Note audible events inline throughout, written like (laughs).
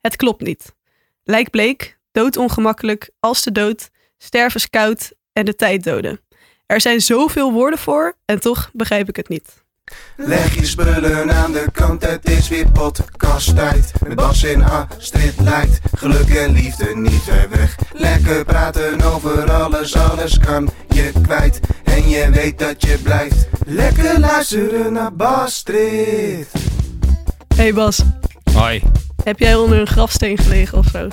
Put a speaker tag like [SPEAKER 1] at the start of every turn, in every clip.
[SPEAKER 1] Het klopt niet. Lijk bleek, doodongemakkelijk, als de dood, stervenskoud en de tijd doden. Er zijn zoveel woorden voor en toch begrijp ik het niet.
[SPEAKER 2] Leg je spullen aan de kant, het is weer podcasttijd. Met Bas en Astrid lijkt geluk en liefde niet ver weg. Lekker praten over alles, alles kan je kwijt. En je weet dat je blijft. Lekker luisteren naar Bastrid.
[SPEAKER 1] hey Bas,
[SPEAKER 3] Hoi.
[SPEAKER 1] heb jij onder een grafsteen gelegen of zo?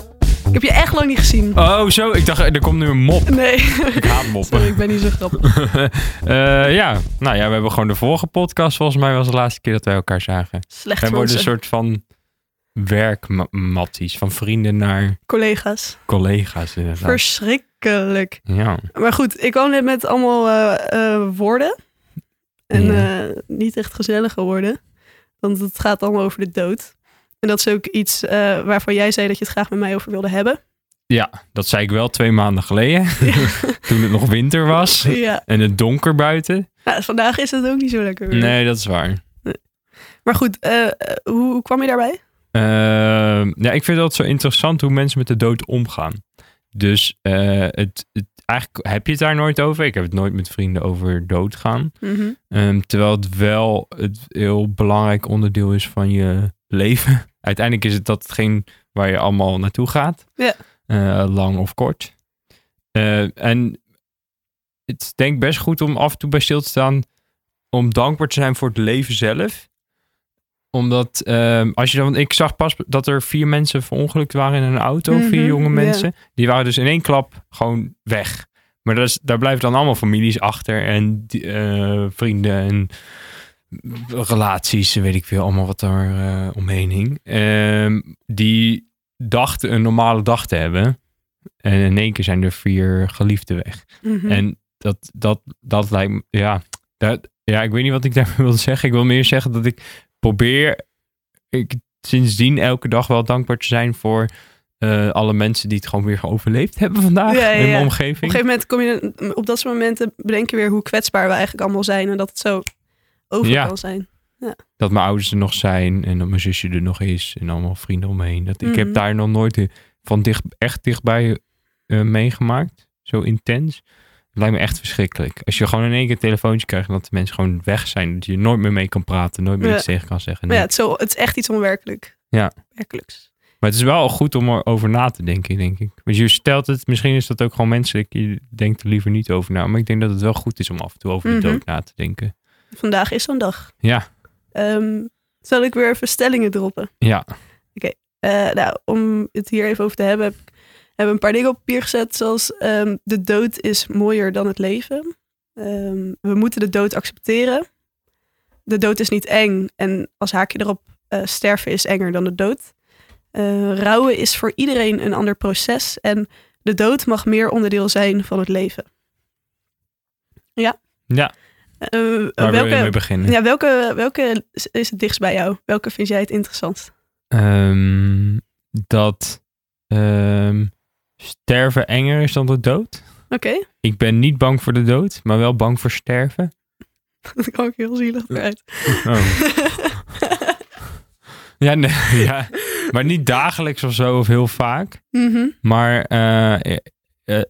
[SPEAKER 1] Ik heb je echt lang niet gezien.
[SPEAKER 3] Oh, zo. Ik dacht, er komt nu een mop.
[SPEAKER 1] Nee, (laughs)
[SPEAKER 3] Ik haat moppen.
[SPEAKER 1] sorry, ik ben niet zo grappig.
[SPEAKER 3] (laughs) Eh, ja, nou ja, we hebben gewoon de vorige podcast. Volgens mij was de laatste keer dat wij elkaar zagen.
[SPEAKER 1] Slecht
[SPEAKER 3] wij
[SPEAKER 1] voor
[SPEAKER 3] worden een
[SPEAKER 1] onze
[SPEAKER 3] soort van werkmatties. Van vrienden naar
[SPEAKER 1] collega's.
[SPEAKER 3] collega's inderdaad.
[SPEAKER 1] Verschrikkelijk.
[SPEAKER 3] Ja.
[SPEAKER 1] Maar goed, ik kwam net met allemaal eh, eh, woorden. En eh, niet echt gezellige woorden. Want het gaat allemaal over de dood. En dat is ook iets eh, waarvan jij zei dat je het graag met mij over wilde hebben.
[SPEAKER 3] ja, dat zei ik wel twee maanden geleden. (laughs) toen het nog winter was.
[SPEAKER 1] ja,
[SPEAKER 3] En het donker buiten.
[SPEAKER 1] nou, vandaag is het ook niet zo lekker weer.
[SPEAKER 3] Nee, dat is waar.
[SPEAKER 1] Maar goed, eh, eh, hoe, hoe kwam je daarbij?
[SPEAKER 3] Eh, ja, ik vind dat zo interessant hoe mensen met de dood omgaan. Dus eh, het, het, eigenlijk heb je het daar nooit over. Ik heb het nooit met vrienden over doodgaan. Ehm, terwijl het wel het heel belangrijk onderdeel is van je (laughs) leven. Uiteindelijk is het dat geen waar je allemaal naartoe gaat.
[SPEAKER 1] Ja.
[SPEAKER 3] Eh, lang of kort. Eh, en het is denk ik best goed om af en toe bij stil te staan. Om dankbaar te zijn voor het leven zelf. Omdat ehm, als je dan, want ik zag pas dat er vier mensen verongelukt waren in een auto.
[SPEAKER 1] Mhm,
[SPEAKER 3] vier jonge
[SPEAKER 1] ja.
[SPEAKER 3] mensen. Die waren dus in één klap gewoon weg. Maar dat is, daar blijven dan allemaal families achter en die- eh, vrienden en relaties, weet ik veel, allemaal wat daar eh, omheen hing. Ehm, die dachten een normale dag te hebben. En in één keer zijn er vier geliefden weg.
[SPEAKER 1] Mhm.
[SPEAKER 3] En dat, dat, dat lijkt me, ja, dat, ja, ik weet niet wat ik (laughs) daarmee wil zeggen. Ik wil meer zeggen dat ik probeer, ik sindsdien elke dag wel dankbaar te zijn voor eh, alle mensen die het gewoon weer overleefd hebben vandaag
[SPEAKER 1] Ja, ja,
[SPEAKER 3] in
[SPEAKER 1] ja.
[SPEAKER 3] mijn
[SPEAKER 1] Op
[SPEAKER 3] omgeving.
[SPEAKER 1] een gegeven moment kom je op dat soort momenten bedenk je weer hoe kwetsbaar we eigenlijk allemaal zijn en dat het zo over
[SPEAKER 3] Ja.
[SPEAKER 1] kan zijn.
[SPEAKER 3] dat mijn ouders er nog zijn en dat mijn zusje er nog is en allemaal vrienden omheen. Dat, Ik
[SPEAKER 1] Mhm.
[SPEAKER 3] heb daar nog nooit eh, van dicht, echt dichtbij eh, meegemaakt. Zo intens. Het lijkt me echt verschrikkelijk. Als je gewoon in één keer een telefoontje krijgt en dat de mensen gewoon weg zijn. Dat je nooit meer mee kan praten, nooit meer
[SPEAKER 1] Ja.
[SPEAKER 3] iets tegen kan zeggen.
[SPEAKER 1] Maar ja,
[SPEAKER 3] Nee.
[SPEAKER 1] het is, zo, het is echt iets onwerkelijk.
[SPEAKER 3] Ja.
[SPEAKER 1] Werkelijks.
[SPEAKER 3] Maar het is wel goed om erover na te denken, denk ik. Want je stelt het, misschien is dat ook gewoon menselijk. Je denkt er liever niet over na. Maar ik denk dat het wel goed is om af en toe over
[SPEAKER 1] Mhm.
[SPEAKER 3] de dood na te denken.
[SPEAKER 1] Vandaag is zo'n dag.
[SPEAKER 3] Ja,
[SPEAKER 1] Ehm, zal ik weer even stellingen droppen?
[SPEAKER 3] ja.
[SPEAKER 1] Eh, nou, om het hier even over te hebben, heb ik heb ik een paar dingen op papier gezet. Zoals ehm, de dood is mooier dan het leven. Ehm, we moeten de dood accepteren. De dood is niet eng. En als haakje erop, eh, sterven is enger dan de dood. Eh rouwen is voor iedereen een ander proces. En de dood mag meer onderdeel zijn van het leven. Ja?
[SPEAKER 3] Ja.
[SPEAKER 1] Eh,
[SPEAKER 3] Waar wil je
[SPEAKER 1] welke,
[SPEAKER 3] mee beginnen?
[SPEAKER 1] ja, welke, welke is het dichtst bij jou? Welke vind jij het interessant?
[SPEAKER 3] Ehm, dat ehm, sterven enger is dan de dood.
[SPEAKER 1] Oké, (laughs)
[SPEAKER 3] Ik ben niet bang voor de dood, maar wel bang voor sterven.
[SPEAKER 1] dat kwam ik heel zielig uit. (laughs)
[SPEAKER 3] Oh. ja, nee, (laughs) ja, maar niet dagelijks of zo of heel vaak.
[SPEAKER 1] Mhm.
[SPEAKER 3] Maar eh, eh, eh,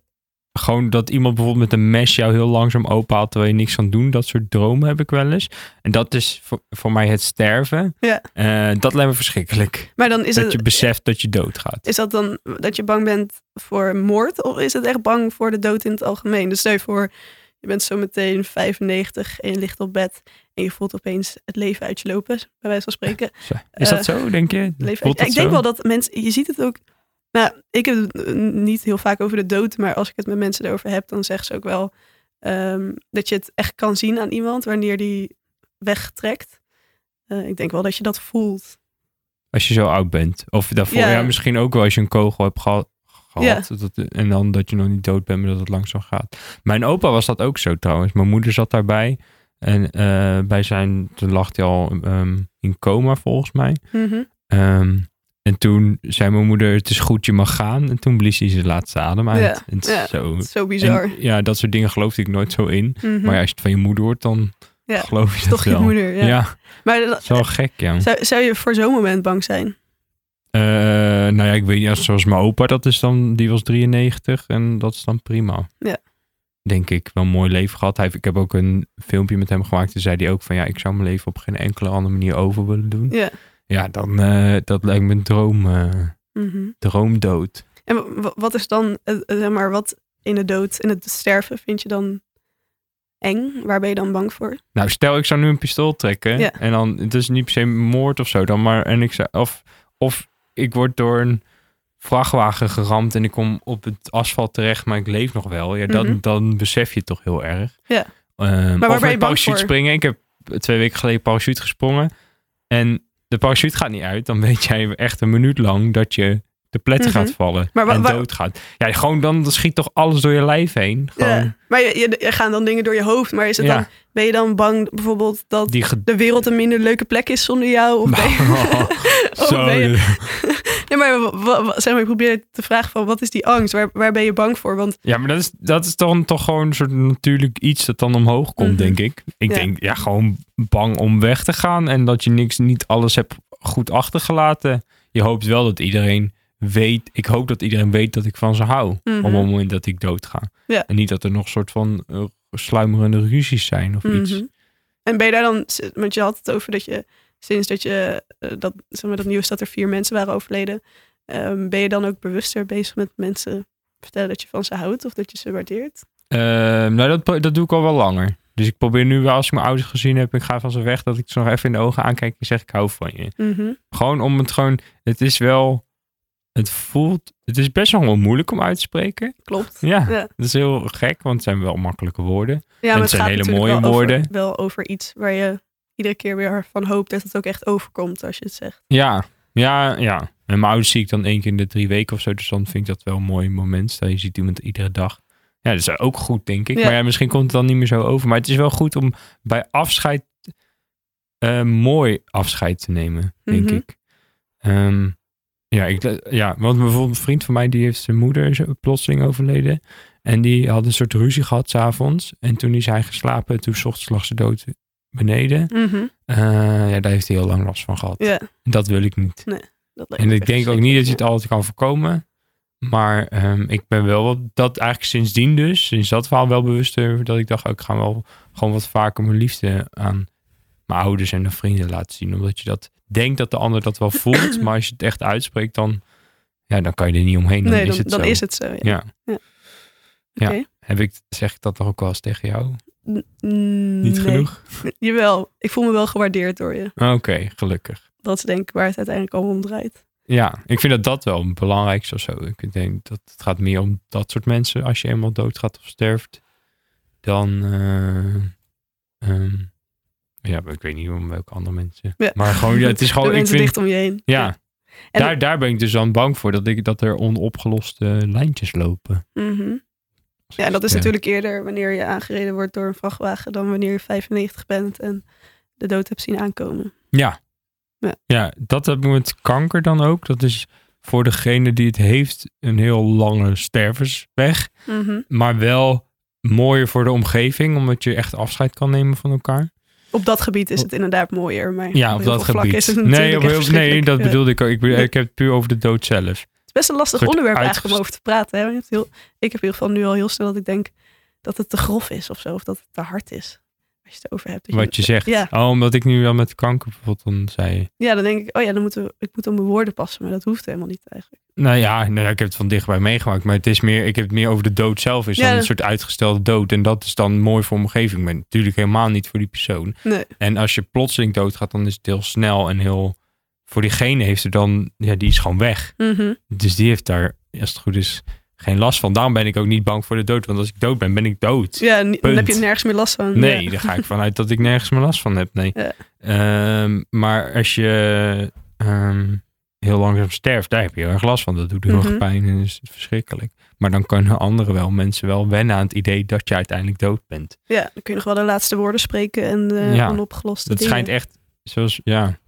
[SPEAKER 3] gewoon dat iemand bijvoorbeeld met een mes jou heel langzaam openhaalt terwijl je niks kan doen. Dat soort dromen heb ik wel eens. En dat is voor, voor mij het sterven.
[SPEAKER 1] Ja.
[SPEAKER 3] Eh, dat lijkt me verschrikkelijk.
[SPEAKER 1] Maar dan is
[SPEAKER 3] dat
[SPEAKER 1] het,
[SPEAKER 3] je beseft dat je doodgaat.
[SPEAKER 1] is dat dan dat je bang bent voor moord? Of is het echt bang voor de dood in het algemeen? Dus stel je voor, je bent zo meteen 95 en je ligt op bed en je voelt opeens het leven uit je lopen, bij wijze van spreken.
[SPEAKER 3] Zo. Is dat
[SPEAKER 1] Eh,
[SPEAKER 3] zo, denk je?
[SPEAKER 1] Het leven
[SPEAKER 3] Voelt
[SPEAKER 1] uit-
[SPEAKER 3] dat
[SPEAKER 1] Ik denk
[SPEAKER 3] zo?
[SPEAKER 1] wel dat mensen, je ziet het ook. Nou, ik heb het eh, niet heel vaak over de dood, maar als ik het met mensen erover heb, dan zeggen ze ook wel ehm, dat je het echt kan zien aan iemand wanneer die wegtrekt. Eh, ik denk wel dat je dat voelt.
[SPEAKER 3] Als je zo oud bent. Of daarvoor,
[SPEAKER 1] Ja.
[SPEAKER 3] ja, misschien ook wel als je een kogel hebt geha- gehad.
[SPEAKER 1] Ja.
[SPEAKER 3] Dat, en dan dat je nog niet dood bent, maar dat het langzaam gaat. Mijn opa was dat ook zo trouwens. Mijn moeder zat daarbij. En eh, bij zijn, toen lag hij al ehm, in coma volgens mij.
[SPEAKER 1] Mhm.
[SPEAKER 3] Ehm, en toen zei mijn moeder, het is goed, je mag gaan. En toen blies hij zijn laatste adem uit.
[SPEAKER 1] Ja.
[SPEAKER 3] En het is
[SPEAKER 1] Ja.
[SPEAKER 3] zo...
[SPEAKER 1] Zo bizar.
[SPEAKER 3] en ja, dat soort dingen geloofde ik nooit zo in.
[SPEAKER 1] Mhm.
[SPEAKER 3] Maar ja, als je het van je moeder hoort, dan
[SPEAKER 1] Ja,
[SPEAKER 3] geloof je dat
[SPEAKER 1] Toch je
[SPEAKER 3] wel.
[SPEAKER 1] moeder. Ja.
[SPEAKER 3] Ja,
[SPEAKER 1] Maar dat-
[SPEAKER 3] het is wel gek, ja.
[SPEAKER 1] zou, zou je voor zo'n moment bang zijn?
[SPEAKER 3] Eh, nou ik weet niet, als- zoals mijn opa, dat is dan, die was 93 en dat is dan prima.
[SPEAKER 1] Ja.
[SPEAKER 3] Denk ik, wel een mooi leven gehad. Hij, heeft- ik heb ook een filmpje met hem gemaakt. Toen zei hij ook van, ja, ik zou mijn leven op geen enkele andere manier over willen doen.
[SPEAKER 1] Ja.
[SPEAKER 3] Ja, dan, eh, dat lijkt me een droom, eh,
[SPEAKER 1] Mhm.
[SPEAKER 3] droomdood.
[SPEAKER 1] En wa- wa- wat is dan, eh, eh, zeg maar, wat in de dood, in het sterven vind je dan eng? Waar ben je dan bang voor?
[SPEAKER 3] Nou, stel ik zou nu een pistool trekken
[SPEAKER 1] Ja.
[SPEAKER 3] en dan, het is niet per se moord of zo dan, maar en ik zou, of, of ik word door een vrachtwagen geramd en ik kom op het asfalt terecht, maar ik leef nog wel. Ja, dan,
[SPEAKER 1] Mhm.
[SPEAKER 3] dan besef je het toch heel erg.
[SPEAKER 1] Ja.
[SPEAKER 3] Ehm,
[SPEAKER 1] waar
[SPEAKER 3] of
[SPEAKER 1] ben
[SPEAKER 3] met
[SPEAKER 1] je bang
[SPEAKER 3] parachute
[SPEAKER 1] voor?
[SPEAKER 3] springen. Ik heb twee weken geleden parachute gesprongen en de parachute gaat niet uit. Dan weet jij echt een minuut lang dat je de plet
[SPEAKER 1] Mhm.
[SPEAKER 3] gaat vallen
[SPEAKER 1] Maar wa-
[SPEAKER 3] en
[SPEAKER 1] wa-
[SPEAKER 3] doodgaat. Ja, gewoon dan, dan schiet toch alles door je lijf heen. Gewoon
[SPEAKER 1] Ja. Maar je, je, er gaan dan dingen door je hoofd, maar is het
[SPEAKER 3] Ja.
[SPEAKER 1] dan, ben je dan bang bijvoorbeeld dat
[SPEAKER 3] die Nou. ge-
[SPEAKER 1] de wereld een minder leuke plek is zonder jou? Of ben (laughs)
[SPEAKER 3] (laughs)
[SPEAKER 1] je- Of
[SPEAKER 3] Zo, dus.
[SPEAKER 1] ben je-
[SPEAKER 3] joh.
[SPEAKER 1] nee, maar, wa- wa- wa- zeg maar ik probeer te vragen van wat is die angst? Waar, waar ben je bang voor? Want
[SPEAKER 3] Ja, maar dat is, dat is dan toch gewoon een soort natuurlijk iets dat dan omhoog komt,
[SPEAKER 1] Mhm.
[SPEAKER 3] denk ik. Ik
[SPEAKER 1] Ja.
[SPEAKER 3] denk, ja, gewoon bang om weg te gaan en dat je niks, niet alles hebt goed achtergelaten. Je hoopt wel dat iedereen weet, ik hoop dat iedereen weet dat ik van ze hou
[SPEAKER 1] Mhm.
[SPEAKER 3] op het moment dat ik doodga.
[SPEAKER 1] Ja.
[SPEAKER 3] En niet dat er nog een soort van eh, sluimerende ruzies zijn of iets.
[SPEAKER 1] Mhm. En ben je daar dan, want je had het over dat je sinds dat je eh, dat, zeg maar, dat nieuws dat er vier mensen waren overleden, ehm, ben je dan ook bewuster bezig met mensen vertellen dat je van ze houdt of dat je ze waardeert?
[SPEAKER 3] Eh, nou, dat, pro- dat doe ik al wel langer. Dus ik probeer nu wel, als ik mijn ouders gezien heb, ik ga van ze weg, dat ik ze nog even in de ogen aankijk en zeg, ik hou van je.
[SPEAKER 1] Mhm.
[SPEAKER 3] Gewoon om het gewoon. Het is wel. Het voelt. Het is best wel moeilijk om uit te spreken.
[SPEAKER 1] Klopt.
[SPEAKER 3] Ja.
[SPEAKER 1] Ja.
[SPEAKER 3] Dat is heel gek, want het zijn wel makkelijke woorden.
[SPEAKER 1] Ja,
[SPEAKER 3] het
[SPEAKER 1] maar
[SPEAKER 3] zijn
[SPEAKER 1] gaat
[SPEAKER 3] hele
[SPEAKER 1] natuurlijk
[SPEAKER 3] mooie
[SPEAKER 1] wel over-
[SPEAKER 3] woorden.
[SPEAKER 1] wel over iets waar je iedere keer weer van hoopt dat het ook echt overkomt als je het zegt.
[SPEAKER 3] Ja. Ja, ja. En mijn ouders zie ik dan één keer in de drie weken of zo. Dus dan vind ik dat wel een mooi moment. Stel, je ziet iemand iedere dag. Ja, dat is ook goed, denk ik.
[SPEAKER 1] Ja.
[SPEAKER 3] Maar ja, misschien komt het dan niet meer zo over. Maar het is wel goed om bij afscheid eh, mooi afscheid te nemen, denk
[SPEAKER 1] Mhm.
[SPEAKER 3] ik. Ehm, ja, ik. eh, Ja, want bijvoorbeeld een vriend van mij, die heeft zijn moeder zo- plotseling overleden. En die had een soort ruzie gehad s'avonds. En toen is hij geslapen. Toen 's ochtends lag ze dood beneden. Eh, ja, daar heeft hij heel lang last van gehad.
[SPEAKER 1] Ja,
[SPEAKER 3] Dat wil ik
[SPEAKER 1] dat
[SPEAKER 3] niet.
[SPEAKER 1] lijkt
[SPEAKER 3] En
[SPEAKER 1] me
[SPEAKER 3] ik
[SPEAKER 1] echt
[SPEAKER 3] denk ook niet dat je het altijd kan voorkomen. Maar ehm, ik ben wel wat, dat eigenlijk sindsdien dus, sinds dat verhaal wel bewuster, dat ik dacht, oh, ik ga wel gewoon wat vaker mijn liefde aan mijn ouders en de vrienden laten zien. Omdat je dat denkt dat de ander dat wel
[SPEAKER 1] (clears throat)
[SPEAKER 3] voelt, maar als je het echt uitspreekt, dan, ja, dan kan je er niet omheen. Dan
[SPEAKER 1] Nee, dan,
[SPEAKER 3] is het
[SPEAKER 1] dan
[SPEAKER 3] zo.
[SPEAKER 1] is het zo. Ja.
[SPEAKER 3] Ja. ja.
[SPEAKER 1] Oké.
[SPEAKER 3] Heb ik, zeg ik dat toch ook wel eens tegen jou?
[SPEAKER 1] Mm,
[SPEAKER 3] Niet
[SPEAKER 1] nee.
[SPEAKER 3] genoeg?
[SPEAKER 1] Jawel, ik voel me wel gewaardeerd door je.
[SPEAKER 3] Oké, gelukkig.
[SPEAKER 1] Dat is denk ik waar het uiteindelijk allemaal om draait.
[SPEAKER 3] Ja, ik vind dat dat wel het belangrijkste of zo. Ik denk dat het gaat meer om dat soort mensen als je eenmaal doodgaat of sterft. Dan, eh, ehm, ja, maar ik weet niet om welke andere mensen.
[SPEAKER 1] Ja.
[SPEAKER 3] Maar gewoon, ja, het
[SPEAKER 1] (laughs)
[SPEAKER 3] is
[SPEAKER 1] de
[SPEAKER 3] gewoon, ik
[SPEAKER 1] mensen
[SPEAKER 3] vind,
[SPEAKER 1] dicht om je heen.
[SPEAKER 3] ja.
[SPEAKER 1] En-
[SPEAKER 3] daar, daar ben ik dus dan bang voor, dat, ik, dat er onopgeloste lijntjes lopen.
[SPEAKER 1] Mhm. Ja, en dat is natuurlijk eerder wanneer je aangereden wordt door een vrachtwagen dan wanneer je 95 bent en de dood hebt zien aankomen.
[SPEAKER 3] Ja.
[SPEAKER 1] Ja.
[SPEAKER 3] ja, dat heb ik met kanker dan ook. Dat is voor degene die het heeft een heel lange stervensweg.
[SPEAKER 1] Mhm.
[SPEAKER 3] maar wel mooier voor de omgeving, omdat je echt afscheid kan nemen van elkaar.
[SPEAKER 1] Op dat gebied is het inderdaad mooier, maar
[SPEAKER 3] Ja, op
[SPEAKER 1] heel
[SPEAKER 3] dat
[SPEAKER 1] veel vlakken is
[SPEAKER 3] gebied.
[SPEAKER 1] het
[SPEAKER 3] Nee,
[SPEAKER 1] natuurlijk
[SPEAKER 3] op
[SPEAKER 1] echt
[SPEAKER 3] heel- nee,
[SPEAKER 1] verschrikkelijk. eh.
[SPEAKER 3] dat
[SPEAKER 1] Ja.
[SPEAKER 3] bedoelde ik ook. Ik, bedoel- ik heb het puur over de dood
[SPEAKER 1] Het
[SPEAKER 3] zelf.
[SPEAKER 1] is best een lastig
[SPEAKER 3] Soort
[SPEAKER 1] onderwerp eigenlijk om
[SPEAKER 3] uitgest-
[SPEAKER 1] over te praten. Hè? Want je hebt heel, ik heb in ieder geval nu al heel snel dat ik denk dat het te grof is of zo. Of dat het te hard is. Als je het over hebt. Dat
[SPEAKER 3] Wat je zegt.
[SPEAKER 1] Ja.
[SPEAKER 3] Oh, omdat ik nu wel met kanker bijvoorbeeld dan zei.
[SPEAKER 1] ja, dan denk ik, oh ja, dan moeten we, ik moet op mijn woorden passen. Maar dat hoeft helemaal niet eigenlijk.
[SPEAKER 3] Nou ja, nou, ja, ik heb het van dichtbij meegemaakt. Maar het is meer, ik heb het meer over de dood zelf. Is
[SPEAKER 1] Ja,
[SPEAKER 3] dan een
[SPEAKER 1] dat-
[SPEAKER 3] soort uitgestelde dood. En dat is dan mooi voor omgeving. Maar natuurlijk helemaal niet voor die persoon.
[SPEAKER 1] Nee.
[SPEAKER 3] En als je plotseling doodgaat, dan is het heel snel en heel... Voor diegene heeft er dan... Ja, die is gewoon weg.
[SPEAKER 1] Mhm.
[SPEAKER 3] Dus die heeft daar, als het goed is, geen last van. Daarom ben ik ook niet bang voor de dood. Want als ik dood ben, ben ik dood.
[SPEAKER 1] Ja, ni- dan
[SPEAKER 3] Punt.
[SPEAKER 1] heb je nergens meer last van.
[SPEAKER 3] Nee,
[SPEAKER 1] Ja.
[SPEAKER 3] daar ga ik vanuit dat ik nergens meer last van heb. Nee.
[SPEAKER 1] Ja.
[SPEAKER 3] Ehm, maar als je ehm, heel langzaam sterft, daar heb je heel erg last van. Dat doet heel erg
[SPEAKER 1] Mhm.
[SPEAKER 3] pijn en is verschrikkelijk. Maar dan kunnen anderen wel, mensen wel wennen aan het idee dat je uiteindelijk dood bent.
[SPEAKER 1] Ja, dan kun je nog wel de laatste woorden spreken en de
[SPEAKER 3] Ja.
[SPEAKER 1] onopgeloste
[SPEAKER 3] Dat
[SPEAKER 1] dingen.
[SPEAKER 3] schijnt echt, zoals, ja,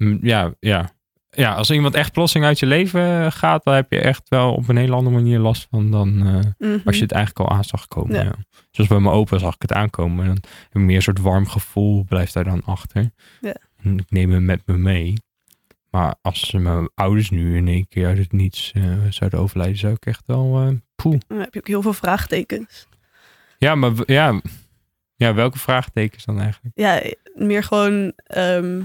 [SPEAKER 3] Mm, ja, ja. Ja, als iemand echt plotseling uit je leven gaat, dan heb je echt wel op een hele andere manier last van dan... eh,
[SPEAKER 1] Mhm.
[SPEAKER 3] Als je het eigenlijk al aan zag komen. Ja.
[SPEAKER 1] Ja.
[SPEAKER 3] Zoals bij mijn opa zag ik het aankomen. Dan heb ik meer een soort warm gevoel blijft daar dan achter.
[SPEAKER 1] Ja.
[SPEAKER 3] En ik neem hem met me mee. Maar als mijn ouders nu in één keer uit het niets eh, zouden overlijden, zou ik echt wel... eh, poeh.
[SPEAKER 1] Mhm. Dan heb je ook heel veel vraagtekens.
[SPEAKER 3] Ja, maar w- ja, ja, welke vraagtekens dan eigenlijk?
[SPEAKER 1] Ja, meer gewoon.
[SPEAKER 3] Mhm.
[SPEAKER 1] ehm,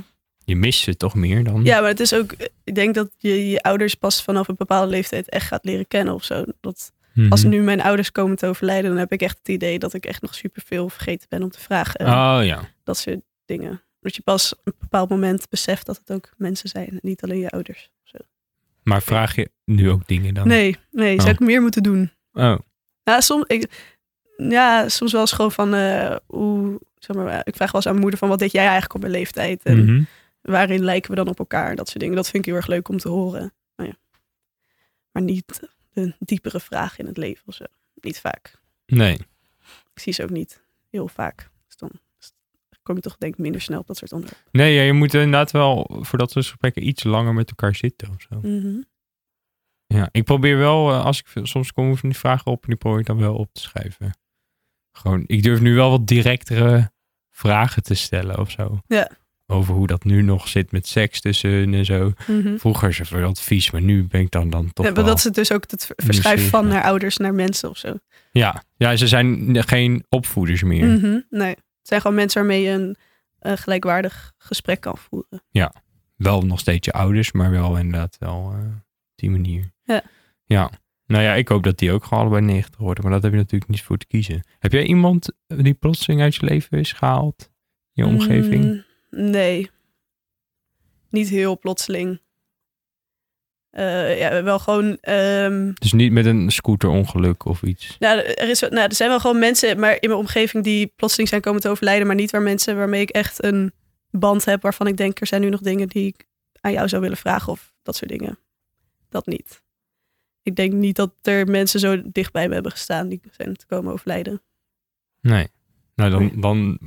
[SPEAKER 3] Je mist ze toch meer dan?
[SPEAKER 1] ja, maar het is ook. Ik denk dat je je ouders pas vanaf een bepaalde leeftijd echt gaat leren kennen of zo. Dat,
[SPEAKER 3] Mhm.
[SPEAKER 1] als nu mijn ouders komen te overlijden, dan heb ik echt het idee dat ik echt nog superveel vergeten ben om te vragen. en
[SPEAKER 3] Oh ja.
[SPEAKER 1] Dat soort dingen. Dat je pas op een bepaald moment beseft dat het ook mensen zijn. en Niet alleen je ouders.
[SPEAKER 3] Maar vraag je nu ook dingen dan?
[SPEAKER 1] Nee, nee, zou
[SPEAKER 3] Oh.
[SPEAKER 1] ik meer moeten doen.
[SPEAKER 3] Oh,
[SPEAKER 1] Ja, soms, ik, ja, soms wel eens gewoon van eh, hoe. Zeg maar, ik vraag wel eens aan mijn moeder van wat deed jij eigenlijk op mijn leeftijd? En
[SPEAKER 3] mhm.
[SPEAKER 1] waarin lijken we dan op elkaar? en Dat soort dingen. Dat vind ik heel erg leuk om te horen. Maar, ja. maar niet een diepere vraag in het leven of zo. Niet vaak.
[SPEAKER 3] nee.
[SPEAKER 1] Ik zie ze ook niet heel vaak. Dus dan kom je toch denk ik minder snel op dat soort onderwerpen.
[SPEAKER 3] Nee, ja, je moet inderdaad wel voor dat soort gesprekken iets langer met elkaar zitten of zo.
[SPEAKER 1] Mhm.
[SPEAKER 3] Ja, ik probeer wel, eh, als ik v- soms komen van die vragen op, en die probeer ik dan wel op te schrijven. Gewoon, ik durf nu wel wat directere vragen te stellen of zo.
[SPEAKER 1] Ja.
[SPEAKER 3] Over hoe dat nu nog zit met seks tussen hun en zo.
[SPEAKER 1] Mhm.
[SPEAKER 3] Vroeger is het wel advies, maar nu ben ik dan, dan toch
[SPEAKER 1] Ja, maar
[SPEAKER 3] wel...
[SPEAKER 1] dat is dus ook het ver- verschuiven
[SPEAKER 3] Nieuwsgierig,
[SPEAKER 1] van
[SPEAKER 3] ja.
[SPEAKER 1] naar ouders naar mensen of zo.
[SPEAKER 3] ja. ja, ze zijn geen opvoeders meer.
[SPEAKER 1] Mhm, Nee, het zijn gewoon mensen waarmee je een eh, gelijkwaardig gesprek kan voeren.
[SPEAKER 3] wel nog steeds je ouders, maar wel inderdaad wel eh, op die manier.
[SPEAKER 1] Ja.
[SPEAKER 3] Ja. Nou ja, ik hoop dat die ook gewoon allebei 90 worden, maar dat heb je natuurlijk niet voor te kiezen. Heb jij iemand eh, die plotseling uit je leven is gehaald? In je omgeving?
[SPEAKER 1] Mm, nee, niet heel plotseling. Eh, ja, wel gewoon. ehm,
[SPEAKER 3] Dus niet met een scooterongeluk of iets.
[SPEAKER 1] nou, er is, wel- nou, er zijn wel gewoon mensen maar in mijn omgeving die plotseling zijn komen te overlijden, maar niet waar mensen waarmee ik echt een band heb waarvan ik denk er zijn nu nog dingen die ik aan jou zou willen vragen of dat soort dingen. Dat niet. Ik denk niet dat er mensen zo dicht bij me hebben gestaan die zijn te komen overlijden.
[SPEAKER 3] Nee. Nou, dan, dan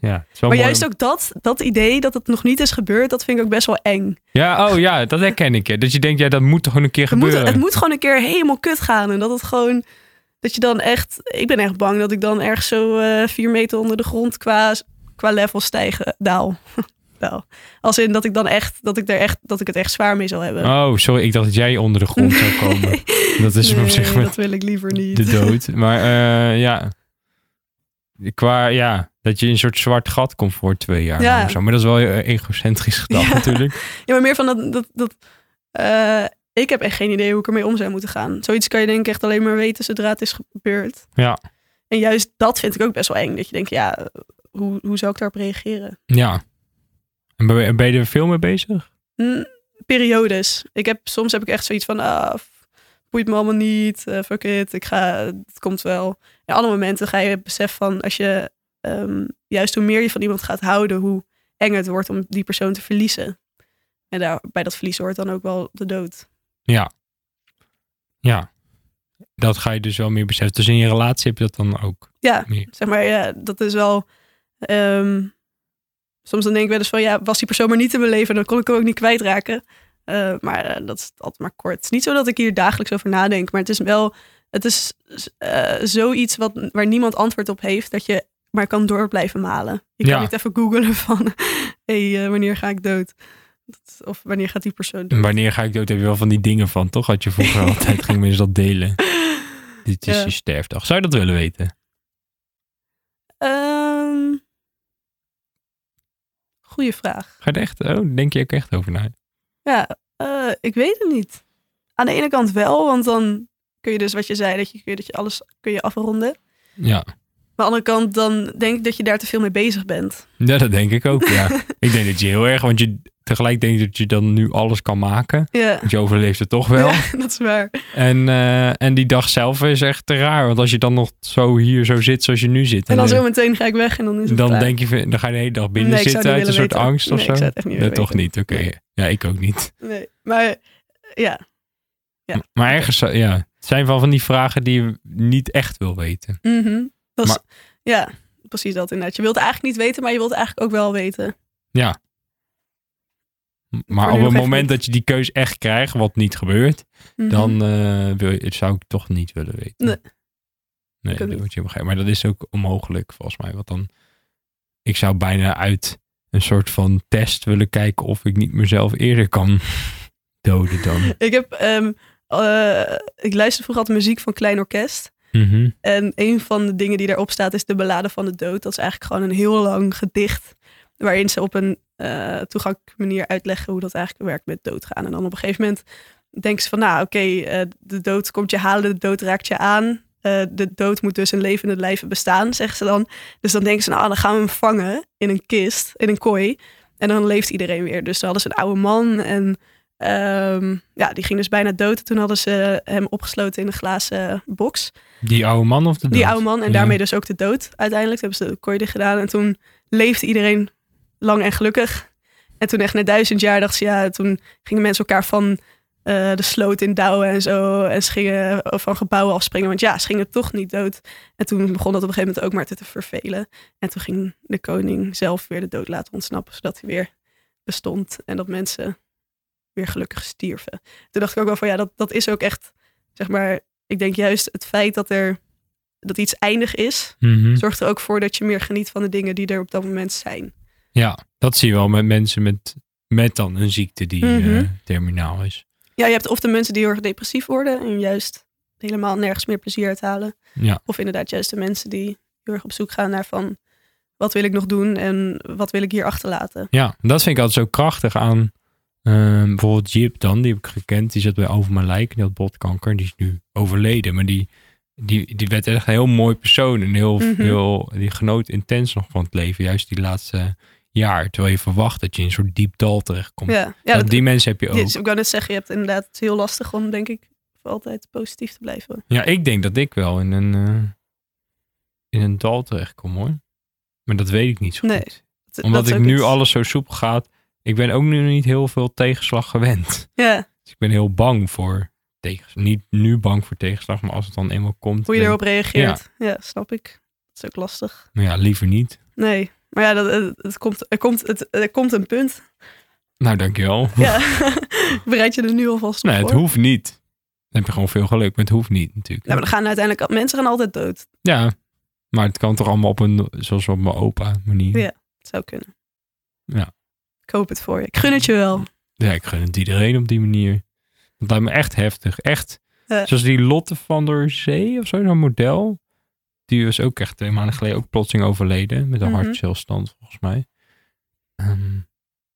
[SPEAKER 3] ja. Het is
[SPEAKER 1] Maar
[SPEAKER 3] wel mooi
[SPEAKER 1] juist
[SPEAKER 3] om-
[SPEAKER 1] ook dat, dat idee dat het nog niet is gebeurd, dat vind ik ook best wel eng.
[SPEAKER 3] Ja, oh ja, dat herken ik. Ja. Dat je denkt, ja, dat moet toch gewoon een keer
[SPEAKER 1] Het moet,
[SPEAKER 3] gebeuren.
[SPEAKER 1] het moet gewoon een keer helemaal kut gaan. En dat het gewoon, dat je dan echt, ik ben echt bang dat ik dan ergens zo eh, vier meter onder de grond qua, qua level stijgen, daal. (laughs) daal. Als in dat ik dan echt, dat ik, er echt, dat ik het echt zwaar mee zal hebben.
[SPEAKER 3] Oh, sorry, ik dacht dat jij onder de
[SPEAKER 1] (laughs)
[SPEAKER 3] grond zou komen. Dat is op
[SPEAKER 1] Nee,
[SPEAKER 3] zich wel-
[SPEAKER 1] dat wil ik liever niet.
[SPEAKER 3] de dood.
[SPEAKER 1] (laughs)
[SPEAKER 3] Maar eh, ja. Qua, ja, dat je in een soort zwart gat komt voor twee jaar.
[SPEAKER 1] Ja.
[SPEAKER 3] lang of zo. Maar dat is wel eh,
[SPEAKER 1] (laughs)
[SPEAKER 3] egocentrisch gedacht
[SPEAKER 1] Ja.
[SPEAKER 3] natuurlijk.
[SPEAKER 1] Ja, maar meer van dat. dat, dat eh, ik heb echt geen idee hoe ik ermee om zou moeten gaan. Zoiets kan je denk ik echt alleen maar weten zodra het is gebeurd.
[SPEAKER 3] Ja.
[SPEAKER 1] En juist dat vind ik ook best wel eng. Dat je denkt, ja, hoe, hoe zou ik daarop reageren?
[SPEAKER 3] Ja. En ben, ben je er veel mee bezig?
[SPEAKER 1] Hm, periodes. Ik heb, soms heb ik echt zoiets van, ah, f- boeit me allemaal niet. eh, fuck it, ik ga, het komt wel. En alle momenten ga je het besef van, als je ehm, juist hoe meer je van iemand gaat houden, hoe enger het wordt om die persoon te verliezen. En daar, bij dat verlies hoort dan ook wel de dood.
[SPEAKER 3] Ja. Dat ga je dus wel meer beseffen. Dus in je relatie heb je dat dan ook.
[SPEAKER 1] Ja,
[SPEAKER 3] Meer.
[SPEAKER 1] zeg maar, ja, dat is wel. ehm, soms dan denk ik wel eens van, ja, was die persoon maar niet in mijn leven, dan kon ik hem ook niet kwijtraken. Eh, maar eh, dat is altijd maar kort. Het is niet zo dat ik hier dagelijks over nadenk, maar het is wel, het is eh, zoiets wat, waar niemand antwoord op heeft, dat je maar kan door blijven malen. Je
[SPEAKER 3] Ja.
[SPEAKER 1] kan niet even googlen van, (laughs) hé, hey, eh, wanneer ga ik dood? Dat- Of wanneer gaat die persoon dood?
[SPEAKER 3] En wanneer ga ik dood? Heb je wel van die dingen van, toch? Had je
[SPEAKER 1] (laughs)
[SPEAKER 3] vroeger altijd, ging mensen dat delen. Dit is
[SPEAKER 1] Ja.
[SPEAKER 3] je sterfdag. Zou je dat willen weten?
[SPEAKER 1] Ehm, goeie vraag.
[SPEAKER 3] Ga je er echt, oh, denk je ook echt over na?
[SPEAKER 1] Ja, eh, ik weet het niet. Aan de ene kant wel, want dan kun je dus wat je zei, dat je, kun je- dat je alles kun je afronden. Maar aan
[SPEAKER 3] Ja.
[SPEAKER 1] de andere kant, dan denk ik dat je daar te veel mee bezig bent.
[SPEAKER 3] Ja, dat denk ik ook, ja.
[SPEAKER 1] (laughs)
[SPEAKER 3] ik denk dat je heel erg, want je tegelijk denkt dat je dan nu alles kan maken.
[SPEAKER 1] Ja,
[SPEAKER 3] Want je overleeft het toch wel.
[SPEAKER 1] Ja, (laughs) dat is waar.
[SPEAKER 3] En, eh, en die dag zelf is echt te raar. Want als je dan nog zo hier zo zit zoals je nu zit.
[SPEAKER 1] En dan
[SPEAKER 3] eh,
[SPEAKER 1] zo meteen ga ik weg en dan is het
[SPEAKER 3] dan
[SPEAKER 1] klaar.
[SPEAKER 3] denk je, van- dan ga je de hele dag binnen
[SPEAKER 1] Nee, ik zou
[SPEAKER 3] zitten
[SPEAKER 1] het
[SPEAKER 3] uit
[SPEAKER 1] niet
[SPEAKER 3] een soort
[SPEAKER 1] willen weten.
[SPEAKER 3] angst of
[SPEAKER 1] Nee,
[SPEAKER 3] zo.
[SPEAKER 1] ik zou het echt niet
[SPEAKER 3] nee,
[SPEAKER 1] willen
[SPEAKER 3] toch
[SPEAKER 1] weten.
[SPEAKER 3] niet. Oké, ja, ik ook niet.
[SPEAKER 1] Nee, maar ja, Ja.
[SPEAKER 3] Maar ergens, zou- ja, het zijn wel van die vragen die je niet echt wil weten.
[SPEAKER 1] mhm. dat is,
[SPEAKER 3] Maar-
[SPEAKER 1] ja, precies dat inderdaad. Je wilt het eigenlijk niet weten, maar je wilt het eigenlijk ook wel weten.
[SPEAKER 3] Maar
[SPEAKER 1] nu nog
[SPEAKER 3] op het
[SPEAKER 1] even
[SPEAKER 3] moment
[SPEAKER 1] niet.
[SPEAKER 3] dat je die keus echt krijgt, wat niet gebeurt,
[SPEAKER 1] Mhm.
[SPEAKER 3] dan eh, wil je, zou ik het toch niet willen weten.
[SPEAKER 1] Nee.
[SPEAKER 3] Nee,
[SPEAKER 1] Ik
[SPEAKER 3] dat
[SPEAKER 1] ook
[SPEAKER 3] moet je
[SPEAKER 1] niet.
[SPEAKER 3] begrijpen. Maar dat is ook onmogelijk volgens mij. Want dan, ik zou bijna uit een soort van test willen kijken of ik niet mezelf eerder kan (laughs) doden dan.
[SPEAKER 1] Ik heb, ehm, eh, ik luister vroeger altijd muziek van Klein Orkest.
[SPEAKER 3] Mhm.
[SPEAKER 1] En een van de dingen die daarop staat is de ballade van de dood. Dat is eigenlijk gewoon een heel lang gedicht. Waarin ze op een eh, toegankelijke manier uitleggen hoe dat eigenlijk werkt met doodgaan. En dan op een gegeven moment denken ze van, nou oké, eh, de dood komt je halen, de dood raakt je aan. Eh, de dood moet dus in levende lijven bestaan, zeggen ze dan. Dus dan denken ze, nou dan gaan we hem vangen in een kist, in een kooi. En dan leeft iedereen weer. Dus dan hadden ze een oude man en ehm, ja, die ging dus bijna dood. En toen hadden ze hem opgesloten in een glazen box.
[SPEAKER 3] Die oude man of de
[SPEAKER 1] Die
[SPEAKER 3] dood?
[SPEAKER 1] oude man en
[SPEAKER 3] Ja.
[SPEAKER 1] daarmee dus ook de dood uiteindelijk. Toen hebben ze de kooi dicht gedaan en toen leefde iedereen lang en gelukkig. En toen echt na duizend jaar dachten ze, ja, toen gingen mensen elkaar van eh, de sloot in douwen en zo. En ze gingen eh, van gebouwen afspringen, want ja, ze gingen toch niet dood. En toen begon dat op een gegeven moment ook maar te, te vervelen. En toen ging de koning zelf weer de dood laten ontsnappen, zodat hij weer bestond. En dat mensen weer gelukkig stierven. Toen dacht ik ook wel van, ja, dat, dat is ook echt, zeg maar, ik denk juist het feit dat er dat iets eindig is,
[SPEAKER 3] Mhm.
[SPEAKER 1] zorgt er ook voor dat je meer geniet van de dingen die er op dat moment zijn.
[SPEAKER 3] Ja, dat zie je wel met mensen met, met dan een ziekte die eh,
[SPEAKER 1] Mhm.
[SPEAKER 3] terminaal is.
[SPEAKER 1] Ja, je hebt of de mensen die heel erg depressief worden en juist helemaal nergens meer plezier uit halen.
[SPEAKER 3] Ja.
[SPEAKER 1] Of inderdaad juist de mensen die heel erg op zoek gaan naar van wat wil ik nog doen en wat wil ik hier achterlaten.
[SPEAKER 3] Ja, dat vind ik altijd zo krachtig aan ehm, bijvoorbeeld Jip dan, die heb ik gekend. Die zat bij Over Mijn Lijk, die had botkanker. Die is nu overleden, maar die, die, die werd echt een heel mooi persoon. En heel,
[SPEAKER 1] Mhm.
[SPEAKER 3] heel, die genoot intens nog van het leven, juist die laatste jaar. Terwijl je verwacht dat je in een soort diep dal terechtkomt.
[SPEAKER 1] Ja, ja
[SPEAKER 3] Dat-
[SPEAKER 1] dat,
[SPEAKER 3] Hm. die mensen heb je ook.
[SPEAKER 1] dit is- ik wou net zeggen, je hebt inderdaad het is heel lastig om denk ik voor altijd positief te blijven.
[SPEAKER 3] Ja, ik denk dat ik wel in een, eh, in een dal terechtkom hoor. Maar dat weet ik niet zo
[SPEAKER 1] Nee,
[SPEAKER 3] goed.
[SPEAKER 1] Dat-
[SPEAKER 3] Omdat
[SPEAKER 1] dat is
[SPEAKER 3] ik
[SPEAKER 1] ook
[SPEAKER 3] nu
[SPEAKER 1] iets-
[SPEAKER 3] alles zo soepel gaat. Ik ben ook nu niet heel veel tegenslag gewend.
[SPEAKER 1] Ja,
[SPEAKER 3] Dus ik ben heel bang voor tegenslag. Niet nu bang voor tegenslag, maar als het dan eenmaal komt.
[SPEAKER 1] hoe je
[SPEAKER 3] dan-
[SPEAKER 1] erop reageert. ja, snap ik. Dat is ook lastig.
[SPEAKER 3] Nou ja, liever niet.
[SPEAKER 1] Nee, maar ja, dat, het, het komt, er, komt, het, er komt een punt.
[SPEAKER 3] Nou, dankjewel.
[SPEAKER 1] Ja, (laughs) bereid je er nu alvast op
[SPEAKER 3] (laughs) Nee, het
[SPEAKER 1] voor.
[SPEAKER 3] hoeft niet. Dan heb je gewoon veel geluk, maar het hoeft niet natuurlijk.
[SPEAKER 1] Ja, Nou, maar dan gaan uiteindelijk al- mensen gaan altijd dood.
[SPEAKER 3] Ja, maar het kan toch allemaal op een, zoals op mijn opa manier.
[SPEAKER 1] Ja. Het zou kunnen.
[SPEAKER 3] Ja.
[SPEAKER 1] Ik hoop het voor je. Ik gun het je wel.
[SPEAKER 3] Ja, ik gun het iedereen op die manier. Dat lijkt me echt heftig. Echt.
[SPEAKER 1] Ja.
[SPEAKER 3] Zoals die Lotte van der Zee of zo, zo'n model. Die was ook echt twee maanden geleden ook plotseling overleden. Met een
[SPEAKER 1] Mhm.
[SPEAKER 3] hartstilstand volgens mij. Ehm,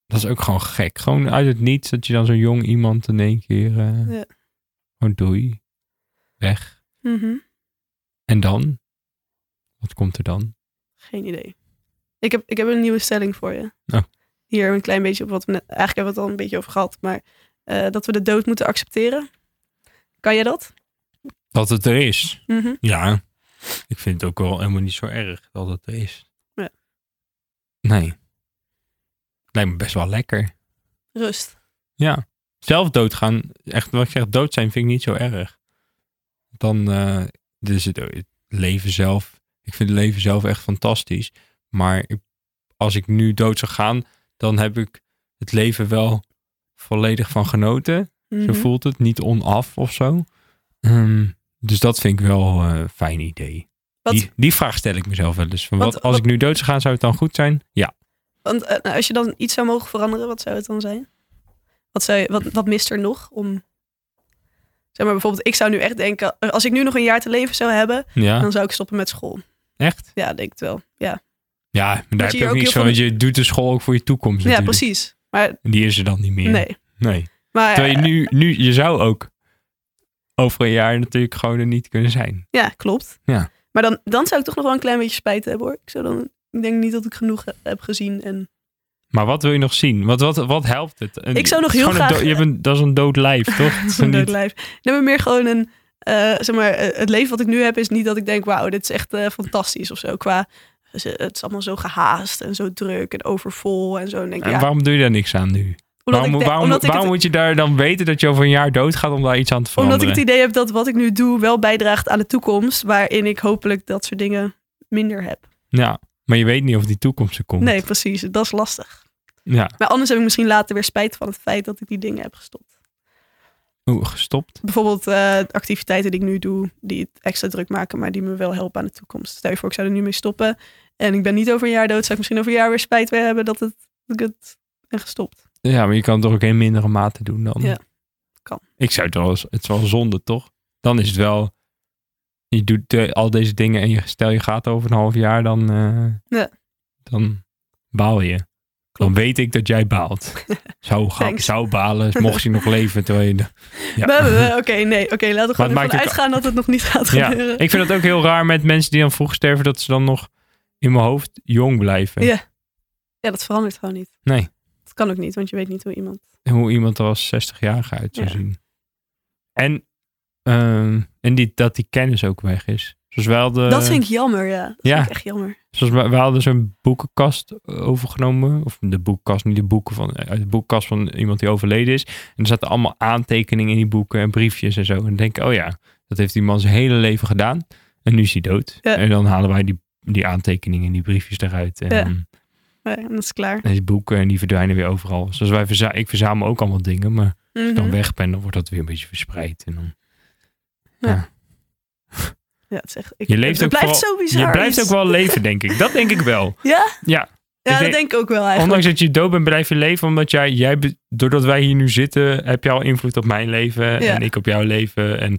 [SPEAKER 3] dat is ook gewoon gek. Gewoon uit het niets dat je dan zo'n jong iemand in één keer... eh,
[SPEAKER 1] Ja.
[SPEAKER 3] Gewoon doei. Weg.
[SPEAKER 1] Mhm.
[SPEAKER 3] En dan? Wat komt er dan?
[SPEAKER 1] Geen idee. Ik heb, ik heb een nieuwe stelling voor je.
[SPEAKER 3] Oh.
[SPEAKER 1] Hier een klein beetje op wat we net... Eigenlijk hebben we het al een beetje over gehad. Maar eh, dat we de dood moeten accepteren. Kan jij dat?
[SPEAKER 3] Dat het er is.
[SPEAKER 1] Mhm.
[SPEAKER 3] Ja, ik vind het ook wel helemaal niet zo erg dat het er is.
[SPEAKER 1] Ja.
[SPEAKER 3] Nee. Lijkt me best wel lekker.
[SPEAKER 1] Rust.
[SPEAKER 3] Ja. Zelf doodgaan, echt wat ik zeg, dood zijn vind ik niet zo erg. Dan eh, dus het, het leven zelf. Ik vind het leven zelf echt fantastisch. Maar ik- als ik nu dood zou gaan, dan heb ik het leven wel volledig van genoten.
[SPEAKER 1] Mhm.
[SPEAKER 3] Zo voelt het, niet onaf of zo. Ehm, dus dat vind ik wel eh, een fijn idee.
[SPEAKER 1] Wat-
[SPEAKER 3] Die, die vraag stel ik mezelf wel eens. Van
[SPEAKER 1] Wat-
[SPEAKER 3] wat, als
[SPEAKER 1] wat-
[SPEAKER 3] ik nu dood zou gaan, zou het dan goed zijn? Ja.
[SPEAKER 1] Want eh, als je dan iets zou mogen veranderen, wat zou het dan zijn? Wat, zou je, wat, wat mist er nog om. Zeg maar bijvoorbeeld, ik zou nu echt denken. Als ik nu nog een jaar te leven zou hebben,
[SPEAKER 3] Ja,
[SPEAKER 1] dan zou ik stoppen met school.
[SPEAKER 3] echt?
[SPEAKER 1] Ja, denk ik wel. Ja,
[SPEAKER 3] Ja, maar daar
[SPEAKER 1] je
[SPEAKER 3] heb
[SPEAKER 1] hier
[SPEAKER 3] je ook
[SPEAKER 1] ook
[SPEAKER 3] niks
[SPEAKER 1] heel
[SPEAKER 3] van.
[SPEAKER 1] veel-
[SPEAKER 3] Want je doet de school ook voor je toekomst
[SPEAKER 1] ja
[SPEAKER 3] natuurlijk.
[SPEAKER 1] precies. Maar
[SPEAKER 3] En die is er dan niet meer.
[SPEAKER 1] nee. Eh,
[SPEAKER 3] nee.
[SPEAKER 1] Maar,
[SPEAKER 3] Terwijl je nu, nu, je zou ook over een jaar natuurlijk gewoon er niet kunnen zijn.
[SPEAKER 1] Ja, klopt.
[SPEAKER 3] Ja.
[SPEAKER 1] Maar dan, dan zou ik toch nog wel een klein beetje spijt hebben hoor. Ik, zou dan, ik denk niet dat ik genoeg he- heb gezien. En,
[SPEAKER 3] Maar wat wil je nog zien? Wat, wat, wat helpt het? Een-
[SPEAKER 1] Ik zou nog
[SPEAKER 3] het is
[SPEAKER 1] heel
[SPEAKER 3] gewoon een
[SPEAKER 1] graag-
[SPEAKER 3] do- je hebt een, dat is een dood lijf,
[SPEAKER 1] (laughs)
[SPEAKER 3] toch? Het is
[SPEAKER 1] een
[SPEAKER 3] niet-
[SPEAKER 1] dood lijf. Nee, maar meer gewoon een. eh, zeg maar, eh, het leven wat ik nu heb is niet dat ik denk: wauw, dit is echt eh, fantastisch of zo. Qua. ze- Het is allemaal zo gehaast en zo druk en overvol en zo. En denk, ik,
[SPEAKER 3] En
[SPEAKER 1] ja,
[SPEAKER 3] Waarom doe je daar niks aan nu?
[SPEAKER 1] omdat
[SPEAKER 3] waarom
[SPEAKER 1] ik, denk-
[SPEAKER 3] waarom,
[SPEAKER 1] omdat ik
[SPEAKER 3] waarom
[SPEAKER 1] het,
[SPEAKER 3] moet je daar dan weten dat je over een jaar doodgaat om daar iets aan te veranderen?
[SPEAKER 1] omdat ik het idee heb dat wat ik nu doe wel bijdraagt aan de toekomst. Waarin ik hopelijk dat soort dingen minder heb.
[SPEAKER 3] Ja, maar je weet niet of die toekomst er komt.
[SPEAKER 1] Nee, precies. Dat is lastig.
[SPEAKER 3] Ja,
[SPEAKER 1] Maar anders heb ik misschien later weer spijt van het feit dat ik die dingen heb gestopt.
[SPEAKER 3] Oeh, gestopt.
[SPEAKER 1] bijvoorbeeld eh, activiteiten die ik nu doe, die het extra druk maken, maar die me wel helpen aan de toekomst. Stel je voor, ik zou er nu mee stoppen en ik ben niet over een jaar dood, zou ik misschien over een jaar weer spijt weer hebben dat het dat ik het ben gestopt.
[SPEAKER 3] Ja, maar je kan het toch ook in mindere mate doen dan.
[SPEAKER 1] Ja, kan.
[SPEAKER 3] Ik zou het wel, eens- het is wel zonde, toch? Dan is het wel, je doet eh, al deze dingen en je, stel je gaat over een half jaar, dan, eh,
[SPEAKER 1] Ja.
[SPEAKER 3] dan baal je. Dan weet ik dat jij
[SPEAKER 1] (laughs)
[SPEAKER 3] baalt. zou, ga,
[SPEAKER 1] Thanks.
[SPEAKER 3] zou balen, mocht je nog leven. Terwijl
[SPEAKER 1] (laughs)
[SPEAKER 3] je de- ja.
[SPEAKER 1] Nee, nee, nee, Oké, nee. Oké, laten we
[SPEAKER 3] Maar het
[SPEAKER 1] gewoon
[SPEAKER 3] maakt
[SPEAKER 1] ervan
[SPEAKER 3] ook-
[SPEAKER 1] uitgaan dat het nog niet gaat
[SPEAKER 3] Ja,
[SPEAKER 1] gebeuren.
[SPEAKER 3] ik vind het ook heel raar met mensen die dan vroeg sterven, dat ze dan nog in mijn hoofd jong blijven.
[SPEAKER 1] Ja. Ja, dat verandert gewoon niet.
[SPEAKER 3] Nee.
[SPEAKER 1] Dat kan ook niet, want je weet niet hoe iemand...
[SPEAKER 3] hoe iemand er als 60-jarige uit zou
[SPEAKER 1] Ja.
[SPEAKER 3] zien. En, ehm, en die, dat die kennis ook weg is. Zoals wij hadden,
[SPEAKER 1] dat vind ik jammer, ja. Dat
[SPEAKER 3] Eh, ja.
[SPEAKER 1] vind ik echt jammer.
[SPEAKER 3] zoals wij, wij hadden zo'n boekenkast overgenomen. Of de boekenkast, niet de boeken van, uit de boekenkast van iemand die overleden is. En er zaten allemaal aantekeningen in die boeken en briefjes en zo. En dan denk ik, oh ja, dat heeft die man zijn hele leven gedaan. En nu is hij dood.
[SPEAKER 1] Ja.
[SPEAKER 3] En dan halen wij die, die aantekeningen en die briefjes eruit. En
[SPEAKER 1] Ja.
[SPEAKER 3] dan-
[SPEAKER 1] Ja, en dat is klaar.
[SPEAKER 3] en die boeken en die verdwijnen weer overal. Zoals wij verza- ik verzamel ook allemaal dingen, maar
[SPEAKER 1] Mhm.
[SPEAKER 3] als ik dan weg ben, dan wordt dat weer een beetje verspreid. En dan,
[SPEAKER 1] Ja, het is echt... Ik,
[SPEAKER 3] Je leeft
[SPEAKER 1] het
[SPEAKER 3] ook
[SPEAKER 1] blijft zo bizar.
[SPEAKER 3] je blijft ook wel leven, denk ik. Dat denk ik wel.
[SPEAKER 1] Ja?
[SPEAKER 3] Ja.
[SPEAKER 1] Ja,
[SPEAKER 3] Ik
[SPEAKER 1] dat
[SPEAKER 3] denk-
[SPEAKER 1] denk ik ook wel eigenlijk.
[SPEAKER 3] Ondanks dat je dood bent, blijf je leven. Omdat jij, jij, be- doordat wij hier nu zitten, heb je al invloed op mijn leven. En ik op jouw leven. En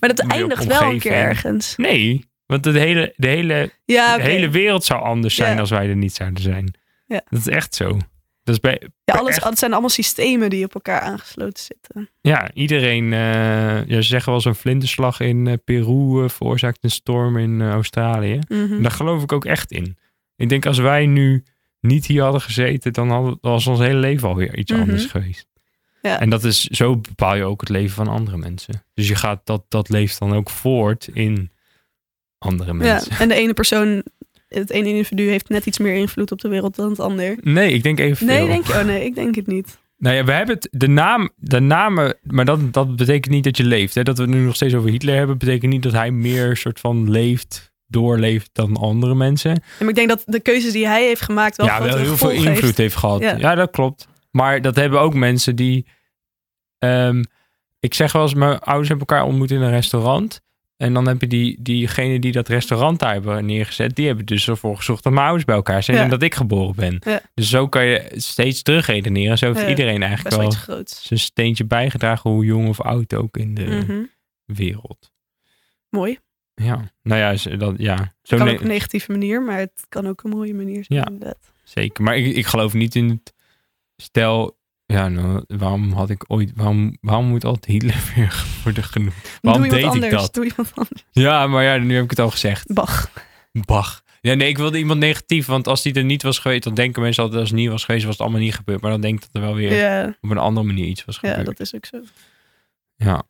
[SPEAKER 1] Maar dat
[SPEAKER 3] je
[SPEAKER 1] eindigt wel een keer
[SPEAKER 3] omgeving.
[SPEAKER 1] ergens.
[SPEAKER 3] Nee, want de hele, de hele,
[SPEAKER 1] Ja,
[SPEAKER 3] de
[SPEAKER 1] Ah, oké.
[SPEAKER 3] hele wereld zou anders zijn
[SPEAKER 1] Ja.
[SPEAKER 3] als wij er niet zouden zijn.
[SPEAKER 1] Ja.
[SPEAKER 3] Dat is echt zo. Dat is bij,
[SPEAKER 1] ja, alles,
[SPEAKER 3] echt-
[SPEAKER 1] het zijn allemaal systemen die op elkaar aangesloten zitten.
[SPEAKER 3] Ja, iedereen. eh ja, ze zeggen wel zo'n vlinderslag in eh, Peru eh, veroorzaakt een storm in eh, Australië.
[SPEAKER 1] Mhm.
[SPEAKER 3] En daar geloof ik ook echt in. Ik denk als wij nu niet hier hadden gezeten, dan hadden, was ons hele leven alweer iets
[SPEAKER 1] Mhm.
[SPEAKER 3] anders geweest.
[SPEAKER 1] Ja.
[SPEAKER 3] En dat is, zo bepaal je ook het leven van andere mensen. Dus je gaat dat, dat leeft dan ook voort in andere
[SPEAKER 1] Ja,
[SPEAKER 3] mensen.
[SPEAKER 1] en de ene persoon, het ene individu heeft net iets meer invloed op de wereld dan het ander.
[SPEAKER 3] Nee, ik denk even.
[SPEAKER 1] Nee, denk je? Oh nee, ik denk het niet.
[SPEAKER 3] Nou ja, we hebben het, de naam, de namen, maar dat, dat betekent niet dat je leeft. Hè? Dat we het nu nog steeds over Hitler hebben, betekent niet dat hij meer soort van leeft, doorleeft dan andere mensen.
[SPEAKER 1] Ja, Maar ik denk dat de keuzes die hij heeft gemaakt wel,
[SPEAKER 3] ja,
[SPEAKER 1] grotere
[SPEAKER 3] wel heel veel
[SPEAKER 1] gevolgen
[SPEAKER 3] invloed heeft,
[SPEAKER 1] heeft.
[SPEAKER 3] gehad. Ja.
[SPEAKER 1] Ja.
[SPEAKER 3] dat klopt. Maar dat hebben ook mensen die, ehm, ik zeg wel eens, mijn ouders hebben elkaar ontmoet in een restaurant. En dan heb je die, diegenen die dat restaurant daar hebben neergezet, die hebben dus ervoor gezorgd dat mijn ouders bij elkaar zijn
[SPEAKER 1] Ja.
[SPEAKER 3] en dat ik geboren ben.
[SPEAKER 1] Ja.
[SPEAKER 3] Dus zo kan je steeds terugredeneren. Zo heeft
[SPEAKER 1] Ja.
[SPEAKER 3] iedereen eigenlijk
[SPEAKER 1] Best wel
[SPEAKER 3] wel
[SPEAKER 1] iets groots.
[SPEAKER 3] zijn steentje bijgedragen, hoe jong of oud ook in de
[SPEAKER 1] Mhm.
[SPEAKER 3] wereld.
[SPEAKER 1] Mooi.
[SPEAKER 3] Ja, nou ja, z- dat, ja. Zo
[SPEAKER 1] kan
[SPEAKER 3] ne-
[SPEAKER 1] op een negatieve manier, maar het kan ook een mooie manier zijn.
[SPEAKER 3] Ja.
[SPEAKER 1] inderdaad.
[SPEAKER 3] zeker. Maar ik, ik geloof niet in het stel. Ja, nou, waarom had ik ooit. Waarom, waarom moet altijd Hitler (laughs) weer worden genoemd? Waarom
[SPEAKER 1] Doe iemand
[SPEAKER 3] deed ik
[SPEAKER 1] anders.
[SPEAKER 3] dat?
[SPEAKER 1] Doe iemand anders.
[SPEAKER 3] Ja, maar ja, nu heb ik het al gezegd.
[SPEAKER 1] Bach.
[SPEAKER 3] Bach. Ja, nee, ik wilde iemand negatief, want als die er niet was geweest, dan denken mensen altijd als het niet was geweest, was het allemaal niet gebeurd. Maar dan denk ik dat er wel weer
[SPEAKER 1] Ja,
[SPEAKER 3] op een andere manier iets was
[SPEAKER 1] ja,
[SPEAKER 3] gebeurd.
[SPEAKER 1] dat is ook zo.
[SPEAKER 3] ja.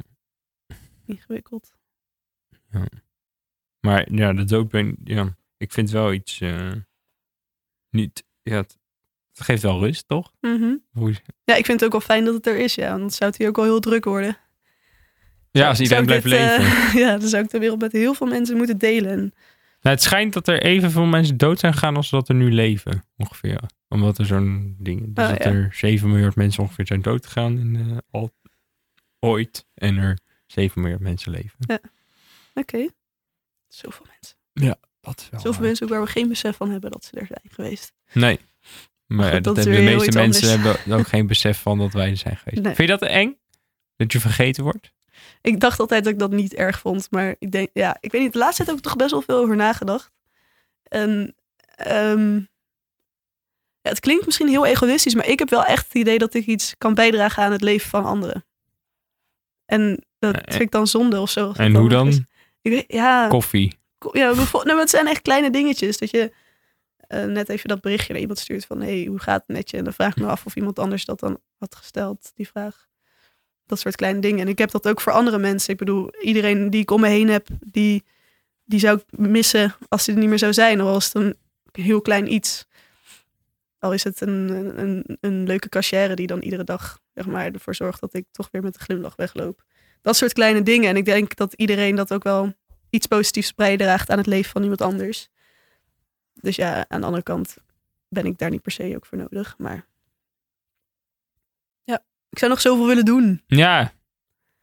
[SPEAKER 1] Ingewikkeld.
[SPEAKER 3] Maar ja, de dood ben ja, ik vind wel iets eh, niet, ja, het, het geeft wel rust, toch?
[SPEAKER 1] Mhm.
[SPEAKER 3] Hoe-
[SPEAKER 1] Ja, ik vind het ook wel fijn dat het er is, ja. Want anders zou het hier ook wel heel druk worden.
[SPEAKER 3] ja, als iedereen
[SPEAKER 1] Zou
[SPEAKER 3] blijft
[SPEAKER 1] ik dit,
[SPEAKER 3] leven.
[SPEAKER 1] eh, (laughs) ja, dan zou ik de wereld met heel veel mensen moeten delen.
[SPEAKER 3] Nou, het schijnt dat er evenveel mensen dood zijn gegaan als dat er nu leven, ongeveer. Omdat er zo'n ding, dus
[SPEAKER 1] Oh,
[SPEAKER 3] dat
[SPEAKER 1] ja.
[SPEAKER 3] er 7 miljard mensen ongeveer zijn dood gegaan in, eh, al, ooit. En er 7 miljard mensen leven.
[SPEAKER 1] Oké. Zoveel mensen.
[SPEAKER 3] Oh, Dat is wel
[SPEAKER 1] Zoveel
[SPEAKER 3] waar.
[SPEAKER 1] mensen ook waar we geen besef van hebben dat ze er zijn geweest.
[SPEAKER 3] Nee. Maar
[SPEAKER 1] Goed,
[SPEAKER 3] ja, dat
[SPEAKER 1] dat is
[SPEAKER 3] hebben de
[SPEAKER 1] weer heel
[SPEAKER 3] meeste
[SPEAKER 1] iets
[SPEAKER 3] mensen
[SPEAKER 1] (laughs)
[SPEAKER 3] hebben ook geen besef van dat wij er zijn geweest.
[SPEAKER 1] Nee.
[SPEAKER 3] Vind je dat eng? Dat je vergeten wordt?
[SPEAKER 1] Ik dacht altijd dat ik dat niet erg vond. Maar ik denk, ja, ik weet niet. De laatste tijd heb ik toch best wel veel over nagedacht. En ehm, ja, het klinkt misschien heel egoïstisch, maar ik heb wel echt het idee dat ik iets kan bijdragen aan het leven van anderen. En dat
[SPEAKER 3] Eh,
[SPEAKER 1] vind ik dan zonde of zo. als
[SPEAKER 3] En
[SPEAKER 1] dat
[SPEAKER 3] hoe
[SPEAKER 1] is.
[SPEAKER 3] dan?
[SPEAKER 1] Ik weet- ja.
[SPEAKER 3] Koffie.
[SPEAKER 1] Ko- ja, bijvoorbeeld, nou, maar het zijn echt kleine dingetjes. Dat je eh, net even dat berichtje naar iemand stuurt van... hey, hoe gaat het met je? En dan vraag ik me af of iemand anders dat dan had gesteld, die vraag. Dat soort kleine dingen. En ik heb dat ook voor andere mensen. Ik bedoel, iedereen die ik om me heen heb... die, die zou ik missen als die er niet meer zou zijn. Al is het een heel klein iets. Al is het een, een- een, een leuke cachère die dan iedere dag zeg maar, ervoor zorgt... dat ik toch weer met een glimlach wegloop. Dat soort kleine dingen. En ik denk dat iedereen dat ook wel iets positiefs bijdraagt aan het leven van iemand anders. Dus ja, aan de andere kant ben ik daar niet per se ook voor nodig. Maar ja, ik zou nog zoveel willen doen.
[SPEAKER 3] Ja.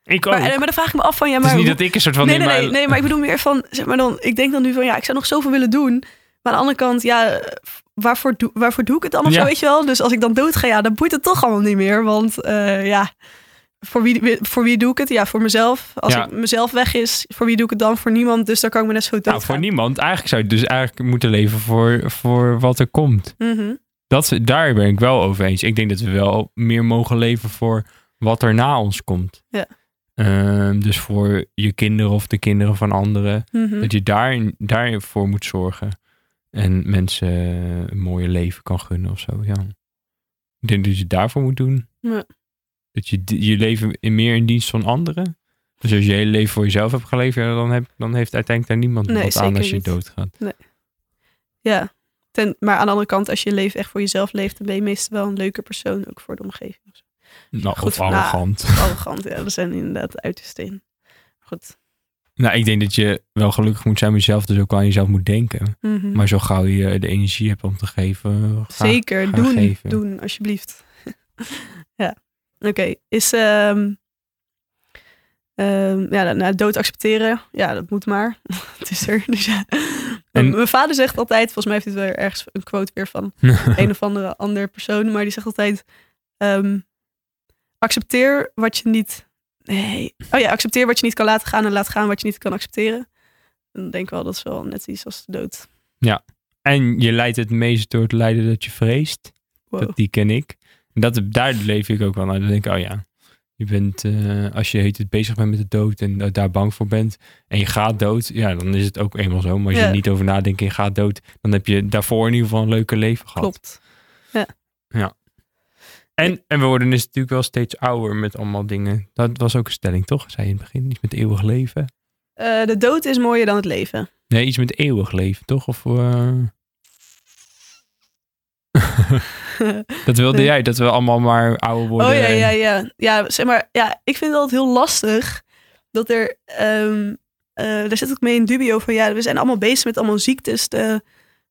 [SPEAKER 3] Ik ook.
[SPEAKER 1] Maar, eh, maar dan vraag ik me af van, ja,
[SPEAKER 3] het is
[SPEAKER 1] maar...
[SPEAKER 3] niet dat ik een soort van...
[SPEAKER 1] nee, nee,
[SPEAKER 3] neem
[SPEAKER 1] nee,
[SPEAKER 3] maar-
[SPEAKER 1] nee, maar ik bedoel meer van, zeg maar dan, ik denk dan nu van, ja, ik zou nog zoveel willen doen. Maar aan de andere kant, ja, eh, f- waarvoor, doe, waarvoor doe ik het dan of
[SPEAKER 3] Ja.
[SPEAKER 1] zo, weet je wel? Dus als ik dan dood ga, ja, dan boeit het toch allemaal niet meer. Want eh, ja, voor wie, voor wie doe ik het? Ja, voor mezelf. Als
[SPEAKER 3] Ja.
[SPEAKER 1] ik mezelf weg is, voor wie doe ik het dan? Voor niemand, dus daar kan ik me net zo goed
[SPEAKER 3] Nou, voor
[SPEAKER 1] doodgaan.
[SPEAKER 3] niemand. Eigenlijk zou je dus eigenlijk moeten leven voor, voor wat er komt.
[SPEAKER 1] Mhm.
[SPEAKER 3] Dat, daar ben ik wel over eens. Ik denk dat we wel meer mogen leven voor wat er na ons komt.
[SPEAKER 1] Ja.
[SPEAKER 3] Ehm, dus voor je kinderen of de kinderen van anderen.
[SPEAKER 1] Mhm.
[SPEAKER 3] Dat je daarin, daarin voor moet zorgen. En mensen een mooie leven kan gunnen of zo. Ja. Ik denk dat je het daarvoor moet doen.
[SPEAKER 1] Ja.
[SPEAKER 3] Dat je di- je leven in- meer in dienst van anderen. Dus als je je hele leven voor jezelf hebt geleefd, ja, dan, heb, dan heeft uiteindelijk daar niemand
[SPEAKER 1] Nee,
[SPEAKER 3] wat aan als je
[SPEAKER 1] zeker niet.
[SPEAKER 3] doodgaat.
[SPEAKER 1] Ja. Ten, maar aan de andere kant, als je leven echt voor jezelf leeft, dan ben je meestal wel een leuke persoon, ook voor de omgeving. of zo.
[SPEAKER 3] Nou,
[SPEAKER 1] Goed,
[SPEAKER 3] of
[SPEAKER 1] nou.
[SPEAKER 3] arrogant. (laughs)
[SPEAKER 1] Arrogant, ja, dat zijn inderdaad uiterste in. Goed.
[SPEAKER 3] Nou, ik denk dat je wel gelukkig moet zijn met jezelf, dus ook wel aan jezelf moet denken.
[SPEAKER 1] Mhm.
[SPEAKER 3] Maar zo gauw je de energie hebt om te geven, ga-
[SPEAKER 1] Zeker,
[SPEAKER 3] ga
[SPEAKER 1] doen,
[SPEAKER 3] geven.
[SPEAKER 1] doen, alsjeblieft. (laughs) ja, oké. Is, ehm, ehm, ja, nou, dood accepteren, ja, dat moet maar. (laughs) het is er, dus ja.
[SPEAKER 3] En-
[SPEAKER 1] Mijn vader zegt altijd, volgens mij heeft hij het wel ergens een quote weer van
[SPEAKER 3] (laughs)
[SPEAKER 1] een of andere, andere persoon, maar die zegt altijd: ehm, accepteer wat je niet. Nee. Oh ja, accepteer wat je niet kan laten gaan en laat gaan wat je niet kan accepteren. Dan denk ik wel, dat is wel net iets als de dood.
[SPEAKER 3] En je leidt het meest door het lijden dat je vreest.
[SPEAKER 1] Wow.
[SPEAKER 3] Dat, die ken ik. En Dat, daar leef ik ook wel naar. Dan denk ik, oh ja, je bent, eh, als je heet het bezig bent met de dood en da- daar bang voor bent en je gaat dood, ja, dan is het ook eenmaal zo. Maar als je
[SPEAKER 1] Ja.
[SPEAKER 3] er niet over nadenkt en je gaat dood, dan heb je daarvoor in ieder geval een leuke leven gehad.
[SPEAKER 1] Klopt.
[SPEAKER 3] En, en we worden dus natuurlijk wel steeds ouder met allemaal dingen. Dat was ook een stelling, toch? Zei je in het begin, iets met eeuwig leven.
[SPEAKER 1] Eh, de dood is mooier dan het leven.
[SPEAKER 3] Nee, iets met eeuwig leven, toch?
[SPEAKER 1] (laughs)
[SPEAKER 3] Of, eh, dat wilde
[SPEAKER 1] Nee.
[SPEAKER 3] jij, dat we allemaal maar ouder worden.
[SPEAKER 1] Oh ja,
[SPEAKER 3] en-
[SPEAKER 1] ja, ja. Ja, zeg maar, ja, ik vind het altijd heel lastig dat er. ehm, eh, daar zit ook mee een dubio van ja, we zijn allemaal bezig met allemaal ziektes te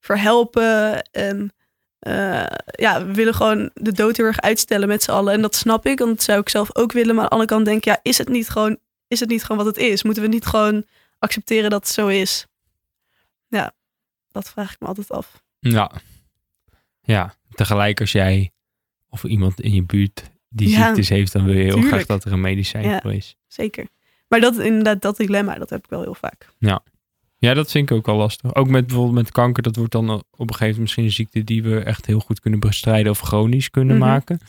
[SPEAKER 1] verhelpen. En eh, ja, we willen gewoon de dood heel erg uitstellen met z'n allen. En dat snap ik, want dat zou ik zelf ook willen. Maar aan de andere kant denk ik, ja, is het niet gewoon, is het niet gewoon wat het is? Moeten we niet gewoon accepteren dat het zo is? Ja, dat vraag ik me altijd af.
[SPEAKER 3] Ja. Ja, tegelijk als jij of iemand in je buurt die
[SPEAKER 1] Ja,
[SPEAKER 3] ziektes heeft, dan wil je heel
[SPEAKER 1] tuurlijk.
[SPEAKER 3] graag dat er een medicijn
[SPEAKER 1] Ja.
[SPEAKER 3] voor is.
[SPEAKER 1] Zeker. Maar dat inderdaad, dat dilemma, dat heb ik wel heel vaak.
[SPEAKER 3] Ja, dat vind ik ook wel lastig. Ook met bijvoorbeeld met kanker, dat wordt dan eh, op een gegeven moment misschien een ziekte die we echt heel goed kunnen bestrijden of chronisch kunnen
[SPEAKER 1] Mhm.
[SPEAKER 3] maken.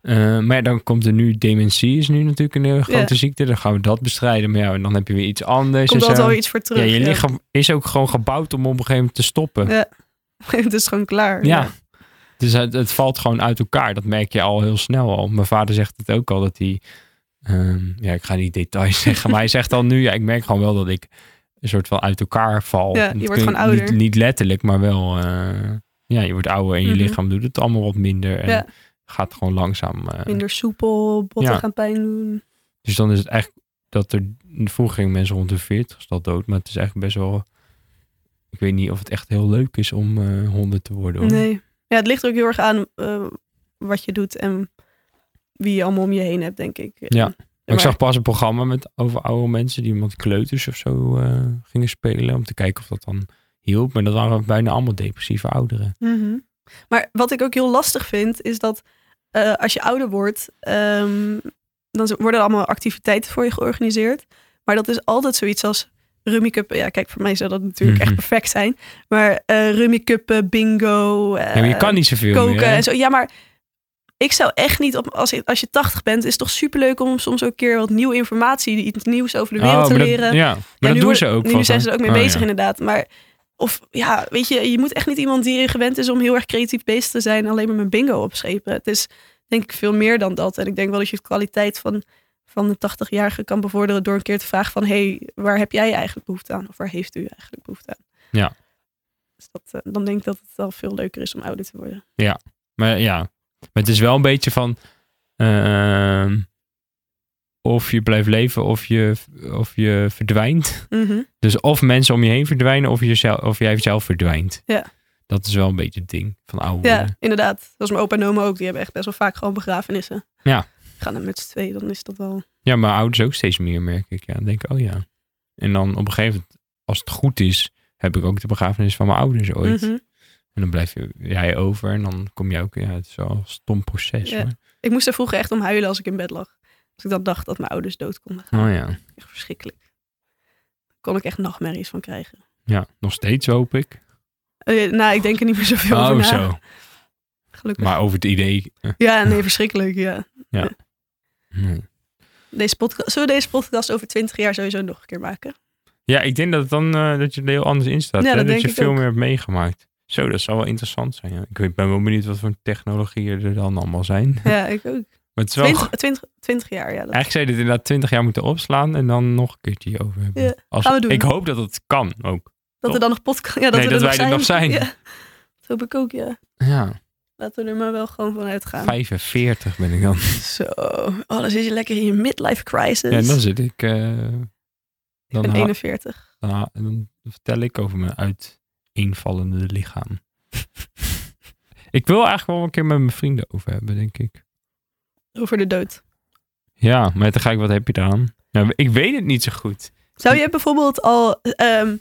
[SPEAKER 3] Eh, maar ja, dan komt er nu, dementie is nu natuurlijk een heel grote ziekte, dan gaan we dat bestrijden. Maar ja, dan heb je weer iets anders.
[SPEAKER 1] Komt
[SPEAKER 3] en
[SPEAKER 1] altijd
[SPEAKER 3] zo.
[SPEAKER 1] wel iets voor terug.
[SPEAKER 3] ja, je
[SPEAKER 1] ja.
[SPEAKER 3] lichaam is ook gewoon gebouwd om op een gegeven moment te stoppen.
[SPEAKER 1] Ja. (laughs) het is gewoon klaar.
[SPEAKER 3] Ja. Dus het, het valt gewoon uit elkaar. Dat merk je al heel snel al. Mijn vader zegt het ook al dat hij. ehm, ja, ik ga niet details (laughs) zeggen. Maar hij zegt al nu. Ja, ik merk gewoon wel dat ik een soort van uit elkaar val.
[SPEAKER 1] Ja, je
[SPEAKER 3] Dat
[SPEAKER 1] wordt
[SPEAKER 3] kun
[SPEAKER 1] gewoon ouder.
[SPEAKER 3] Niet, niet letterlijk, maar wel. eh, ja, je wordt ouder en je
[SPEAKER 1] Mhm.
[SPEAKER 3] lichaam doet het allemaal wat minder. En
[SPEAKER 1] Ja.
[SPEAKER 3] gaat gewoon langzaam. eh,
[SPEAKER 1] Minder soepel, botten
[SPEAKER 3] Ja.
[SPEAKER 1] gaan pijn doen.
[SPEAKER 3] dus dan is het eigenlijk dat er. Vroeger gingen mensen rond de 40 al dood. Maar het is eigenlijk best wel. Ik weet niet of het echt heel leuk is om eh 100 te worden. hoor.
[SPEAKER 1] Nee. Ja, het ligt er ook heel erg aan eh, wat je doet en wie je allemaal om je heen hebt, denk ik.
[SPEAKER 3] Ja.
[SPEAKER 1] Eh,
[SPEAKER 3] Maar ik
[SPEAKER 1] maar-
[SPEAKER 3] zag pas een programma met over oude mensen die met kleuters of zo eh, gingen spelen. Om te kijken of dat dan hielp. Maar dat waren bijna allemaal depressieve ouderen.
[SPEAKER 1] Mhm. Maar wat ik ook heel lastig vind, is dat eh, als je ouder wordt, ehm, dan z- worden er allemaal activiteiten voor je georganiseerd. Maar dat is altijd zoiets als Rummy Cup. Ja, kijk, voor mij zou dat natuurlijk
[SPEAKER 3] Mhm.
[SPEAKER 1] echt perfect zijn. Maar eh Rummy Cup, eh, bingo. eh,
[SPEAKER 3] ja, maar je kan niet zoveel meer.
[SPEAKER 1] koken
[SPEAKER 3] hè?
[SPEAKER 1] en zo. Ja, maar ik zou echt niet op als, je- als je 80 bent, is het toch superleuk om soms ook een keer wat nieuwe informatie, iets nieuws over de
[SPEAKER 3] Oh,
[SPEAKER 1] wereld te
[SPEAKER 3] maar dat-
[SPEAKER 1] leren.
[SPEAKER 3] ja, maar
[SPEAKER 1] Ja,
[SPEAKER 3] dat
[SPEAKER 1] nu
[SPEAKER 3] doen
[SPEAKER 1] worden-
[SPEAKER 3] ze ook.
[SPEAKER 1] Nu
[SPEAKER 3] vast,
[SPEAKER 1] zijn
[SPEAKER 3] hè?
[SPEAKER 1] ze er ook mee
[SPEAKER 3] Oh,
[SPEAKER 1] bezig,
[SPEAKER 3] ja.
[SPEAKER 1] inderdaad. Maar of ja, weet je, je moet echt niet iemand die gewend is om heel erg creatief bezig te zijn, alleen maar met bingo opschepen. Het is denk ik veel meer dan dat. En ik denk wel dat je de kwaliteit van, van de 80-jarige kan bevorderen door een keer te vragen van hé, hey, waar heb jij eigenlijk behoefte aan? Of waar heeft u eigenlijk behoefte aan?
[SPEAKER 3] Ja.
[SPEAKER 1] Dus dat, eh, dan denk ik dat het al veel leuker is om ouder te worden.
[SPEAKER 3] Maar ja, maar het is wel een beetje van... ehm, of je blijft leven of je, of je verdwijnt.
[SPEAKER 1] Mhm.
[SPEAKER 3] Dus of mensen om je heen verdwijnen of, jezelf, of jij zelf verdwijnt.
[SPEAKER 1] Ja.
[SPEAKER 3] Dat is wel een beetje het ding van oude
[SPEAKER 1] Ja,
[SPEAKER 3] worden.
[SPEAKER 1] inderdaad. Zoals mijn opa en oma ook, die hebben echt best wel vaak gewoon begrafenissen.
[SPEAKER 3] Ja.
[SPEAKER 1] Gaan er met z'n tweeën, dan is dat wel...
[SPEAKER 3] Ja, maar ouders ook steeds meer, merk ik. Ja, dan denk ik, oh ja. En dan op een gegeven moment, als het goed is, heb ik ook de begrafenis van mijn ouders ooit.
[SPEAKER 1] Mhm.
[SPEAKER 3] En En dan blijf je, jij over en dan kom je ook... Ja, het is wel een stom proces.
[SPEAKER 1] Ja. Ik moest er vroeger echt om huilen als ik in bed lag. Als ik dan dacht dat mijn ouders dood konden gaan.
[SPEAKER 3] Hoor. Oh ja.
[SPEAKER 1] Echt verschrikkelijk. Daar kon ik echt nachtmerries van krijgen.
[SPEAKER 3] Ja, nog steeds hoop ik.
[SPEAKER 1] Eh, nou, ik nou. denk er niet meer zoveel over
[SPEAKER 3] oh
[SPEAKER 1] na.
[SPEAKER 3] zo.
[SPEAKER 1] Gelukkig.
[SPEAKER 3] Maar over het idee... eh,
[SPEAKER 1] Ja, nee, verschrikkelijk. Ja.
[SPEAKER 3] nee.
[SPEAKER 1] Deze podcast, zullen we deze podcast over twintig jaar sowieso nog een keer
[SPEAKER 3] (laughs)
[SPEAKER 1] maken?
[SPEAKER 3] Ja, ik denk dat, het dan, eh, dat je er heel anders in staat.
[SPEAKER 1] Ja,
[SPEAKER 3] hè?
[SPEAKER 1] dat
[SPEAKER 3] Dat,
[SPEAKER 1] denk
[SPEAKER 3] je
[SPEAKER 1] ik
[SPEAKER 3] veel
[SPEAKER 1] ook.
[SPEAKER 3] meer hebt meegemaakt. Zo, dat zal wel interessant zijn. Ja. Ik weet- ben wel benieuwd wat voor technologieën er dan allemaal zijn. Maar
[SPEAKER 1] Ja, ik ook.
[SPEAKER 3] het is wel...
[SPEAKER 1] Twintig, twintig, twintig jaar, ja. Dat,
[SPEAKER 3] Eigenlijk zou je dit inderdaad 20 jaar moeten opslaan en dan nog een keertje hierover hebben.
[SPEAKER 1] Ja,
[SPEAKER 3] Als,
[SPEAKER 1] gaan we doen.
[SPEAKER 3] Ik hoop dat het kan ook.
[SPEAKER 1] dat er dan nog podcast... Ja, dat,
[SPEAKER 3] Nee,
[SPEAKER 1] we
[SPEAKER 3] dat
[SPEAKER 1] er
[SPEAKER 3] wij er nog
[SPEAKER 1] (laughs)
[SPEAKER 3] zijn.
[SPEAKER 1] Ja. Dat hoop ik ook, ja.
[SPEAKER 3] Ja,
[SPEAKER 1] Laten we er maar wel gewoon van uitgaan.
[SPEAKER 3] 45 ben ik dan.
[SPEAKER 1] Zo. Oh, dan zit je lekker in je midlife crisis.
[SPEAKER 3] Ja, en dan zit ik. eh,
[SPEAKER 1] ik
[SPEAKER 3] dan,
[SPEAKER 1] ben
[SPEAKER 3] ha-
[SPEAKER 1] 41.
[SPEAKER 3] dan, ha- dan vertel ik over mijn uiteenvallende lichaam.
[SPEAKER 1] (laughs)
[SPEAKER 3] ik wil eigenlijk wel een keer met mijn vrienden over hebben, denk ik.
[SPEAKER 1] Over de dood.
[SPEAKER 3] Ja, maar dan ga ik, wat heb je eraan? Nou, ik weet het niet zo goed.
[SPEAKER 1] Zou je bijvoorbeeld al... ehm,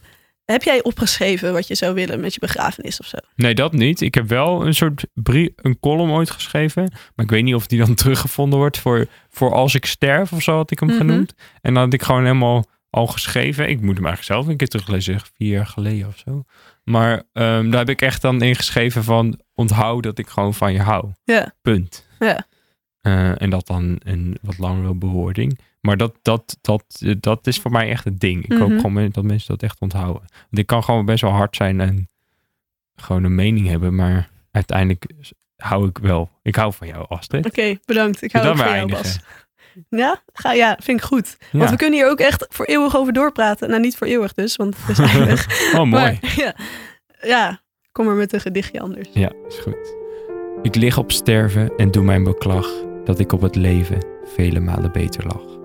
[SPEAKER 1] heb jij opgeschreven wat je zou willen met je begrafenis of zo?
[SPEAKER 3] Nee, dat niet. Ik heb wel een soort brie- een column ooit geschreven. Maar ik weet niet of die dan (laughs) teruggevonden wordt voor, voor als ik sterf of zo had ik hem
[SPEAKER 1] Mhm.
[SPEAKER 3] genoemd. En dan had ik gewoon helemaal al geschreven. Ik moet hem eigenlijk zelf een keer teruglezen, vier jaar geleden of zo. Maar ehm, daar heb ik echt dan in geschreven van onthoud dat ik gewoon van je hou.
[SPEAKER 1] Ja.
[SPEAKER 3] Punt.
[SPEAKER 1] Ja.
[SPEAKER 3] Eh, en dat dan een wat langere bewoording. Maar dat, dat, dat, eh, dat is voor mij echt het ding. Ik
[SPEAKER 1] Mhm.
[SPEAKER 3] hoop gewoon men- dat mensen dat echt onthouden. Want ik kan gewoon best wel hard zijn en gewoon een mening hebben. Maar uiteindelijk s- hou ik wel. Ik hou van jou, Astrid.
[SPEAKER 1] Oké, bedankt. Ik hou
[SPEAKER 3] dat
[SPEAKER 1] ook
[SPEAKER 3] maar
[SPEAKER 1] van jou, Bas.
[SPEAKER 3] eindigen?
[SPEAKER 1] Ja? Ga, ja, vind ik goed.
[SPEAKER 3] Ja.
[SPEAKER 1] Want we kunnen hier ook echt voor eeuwig over doorpraten. Nou, niet voor eeuwig dus, want het
[SPEAKER 3] (laughs)
[SPEAKER 1] is eindig.
[SPEAKER 3] Oh, mooi.
[SPEAKER 1] Maar, ja. ja, kom maar met een gedichtje anders.
[SPEAKER 3] Ja, is goed. Ik lig op sterven en doe mijn beklag dat ik op het leven vele malen beter lag.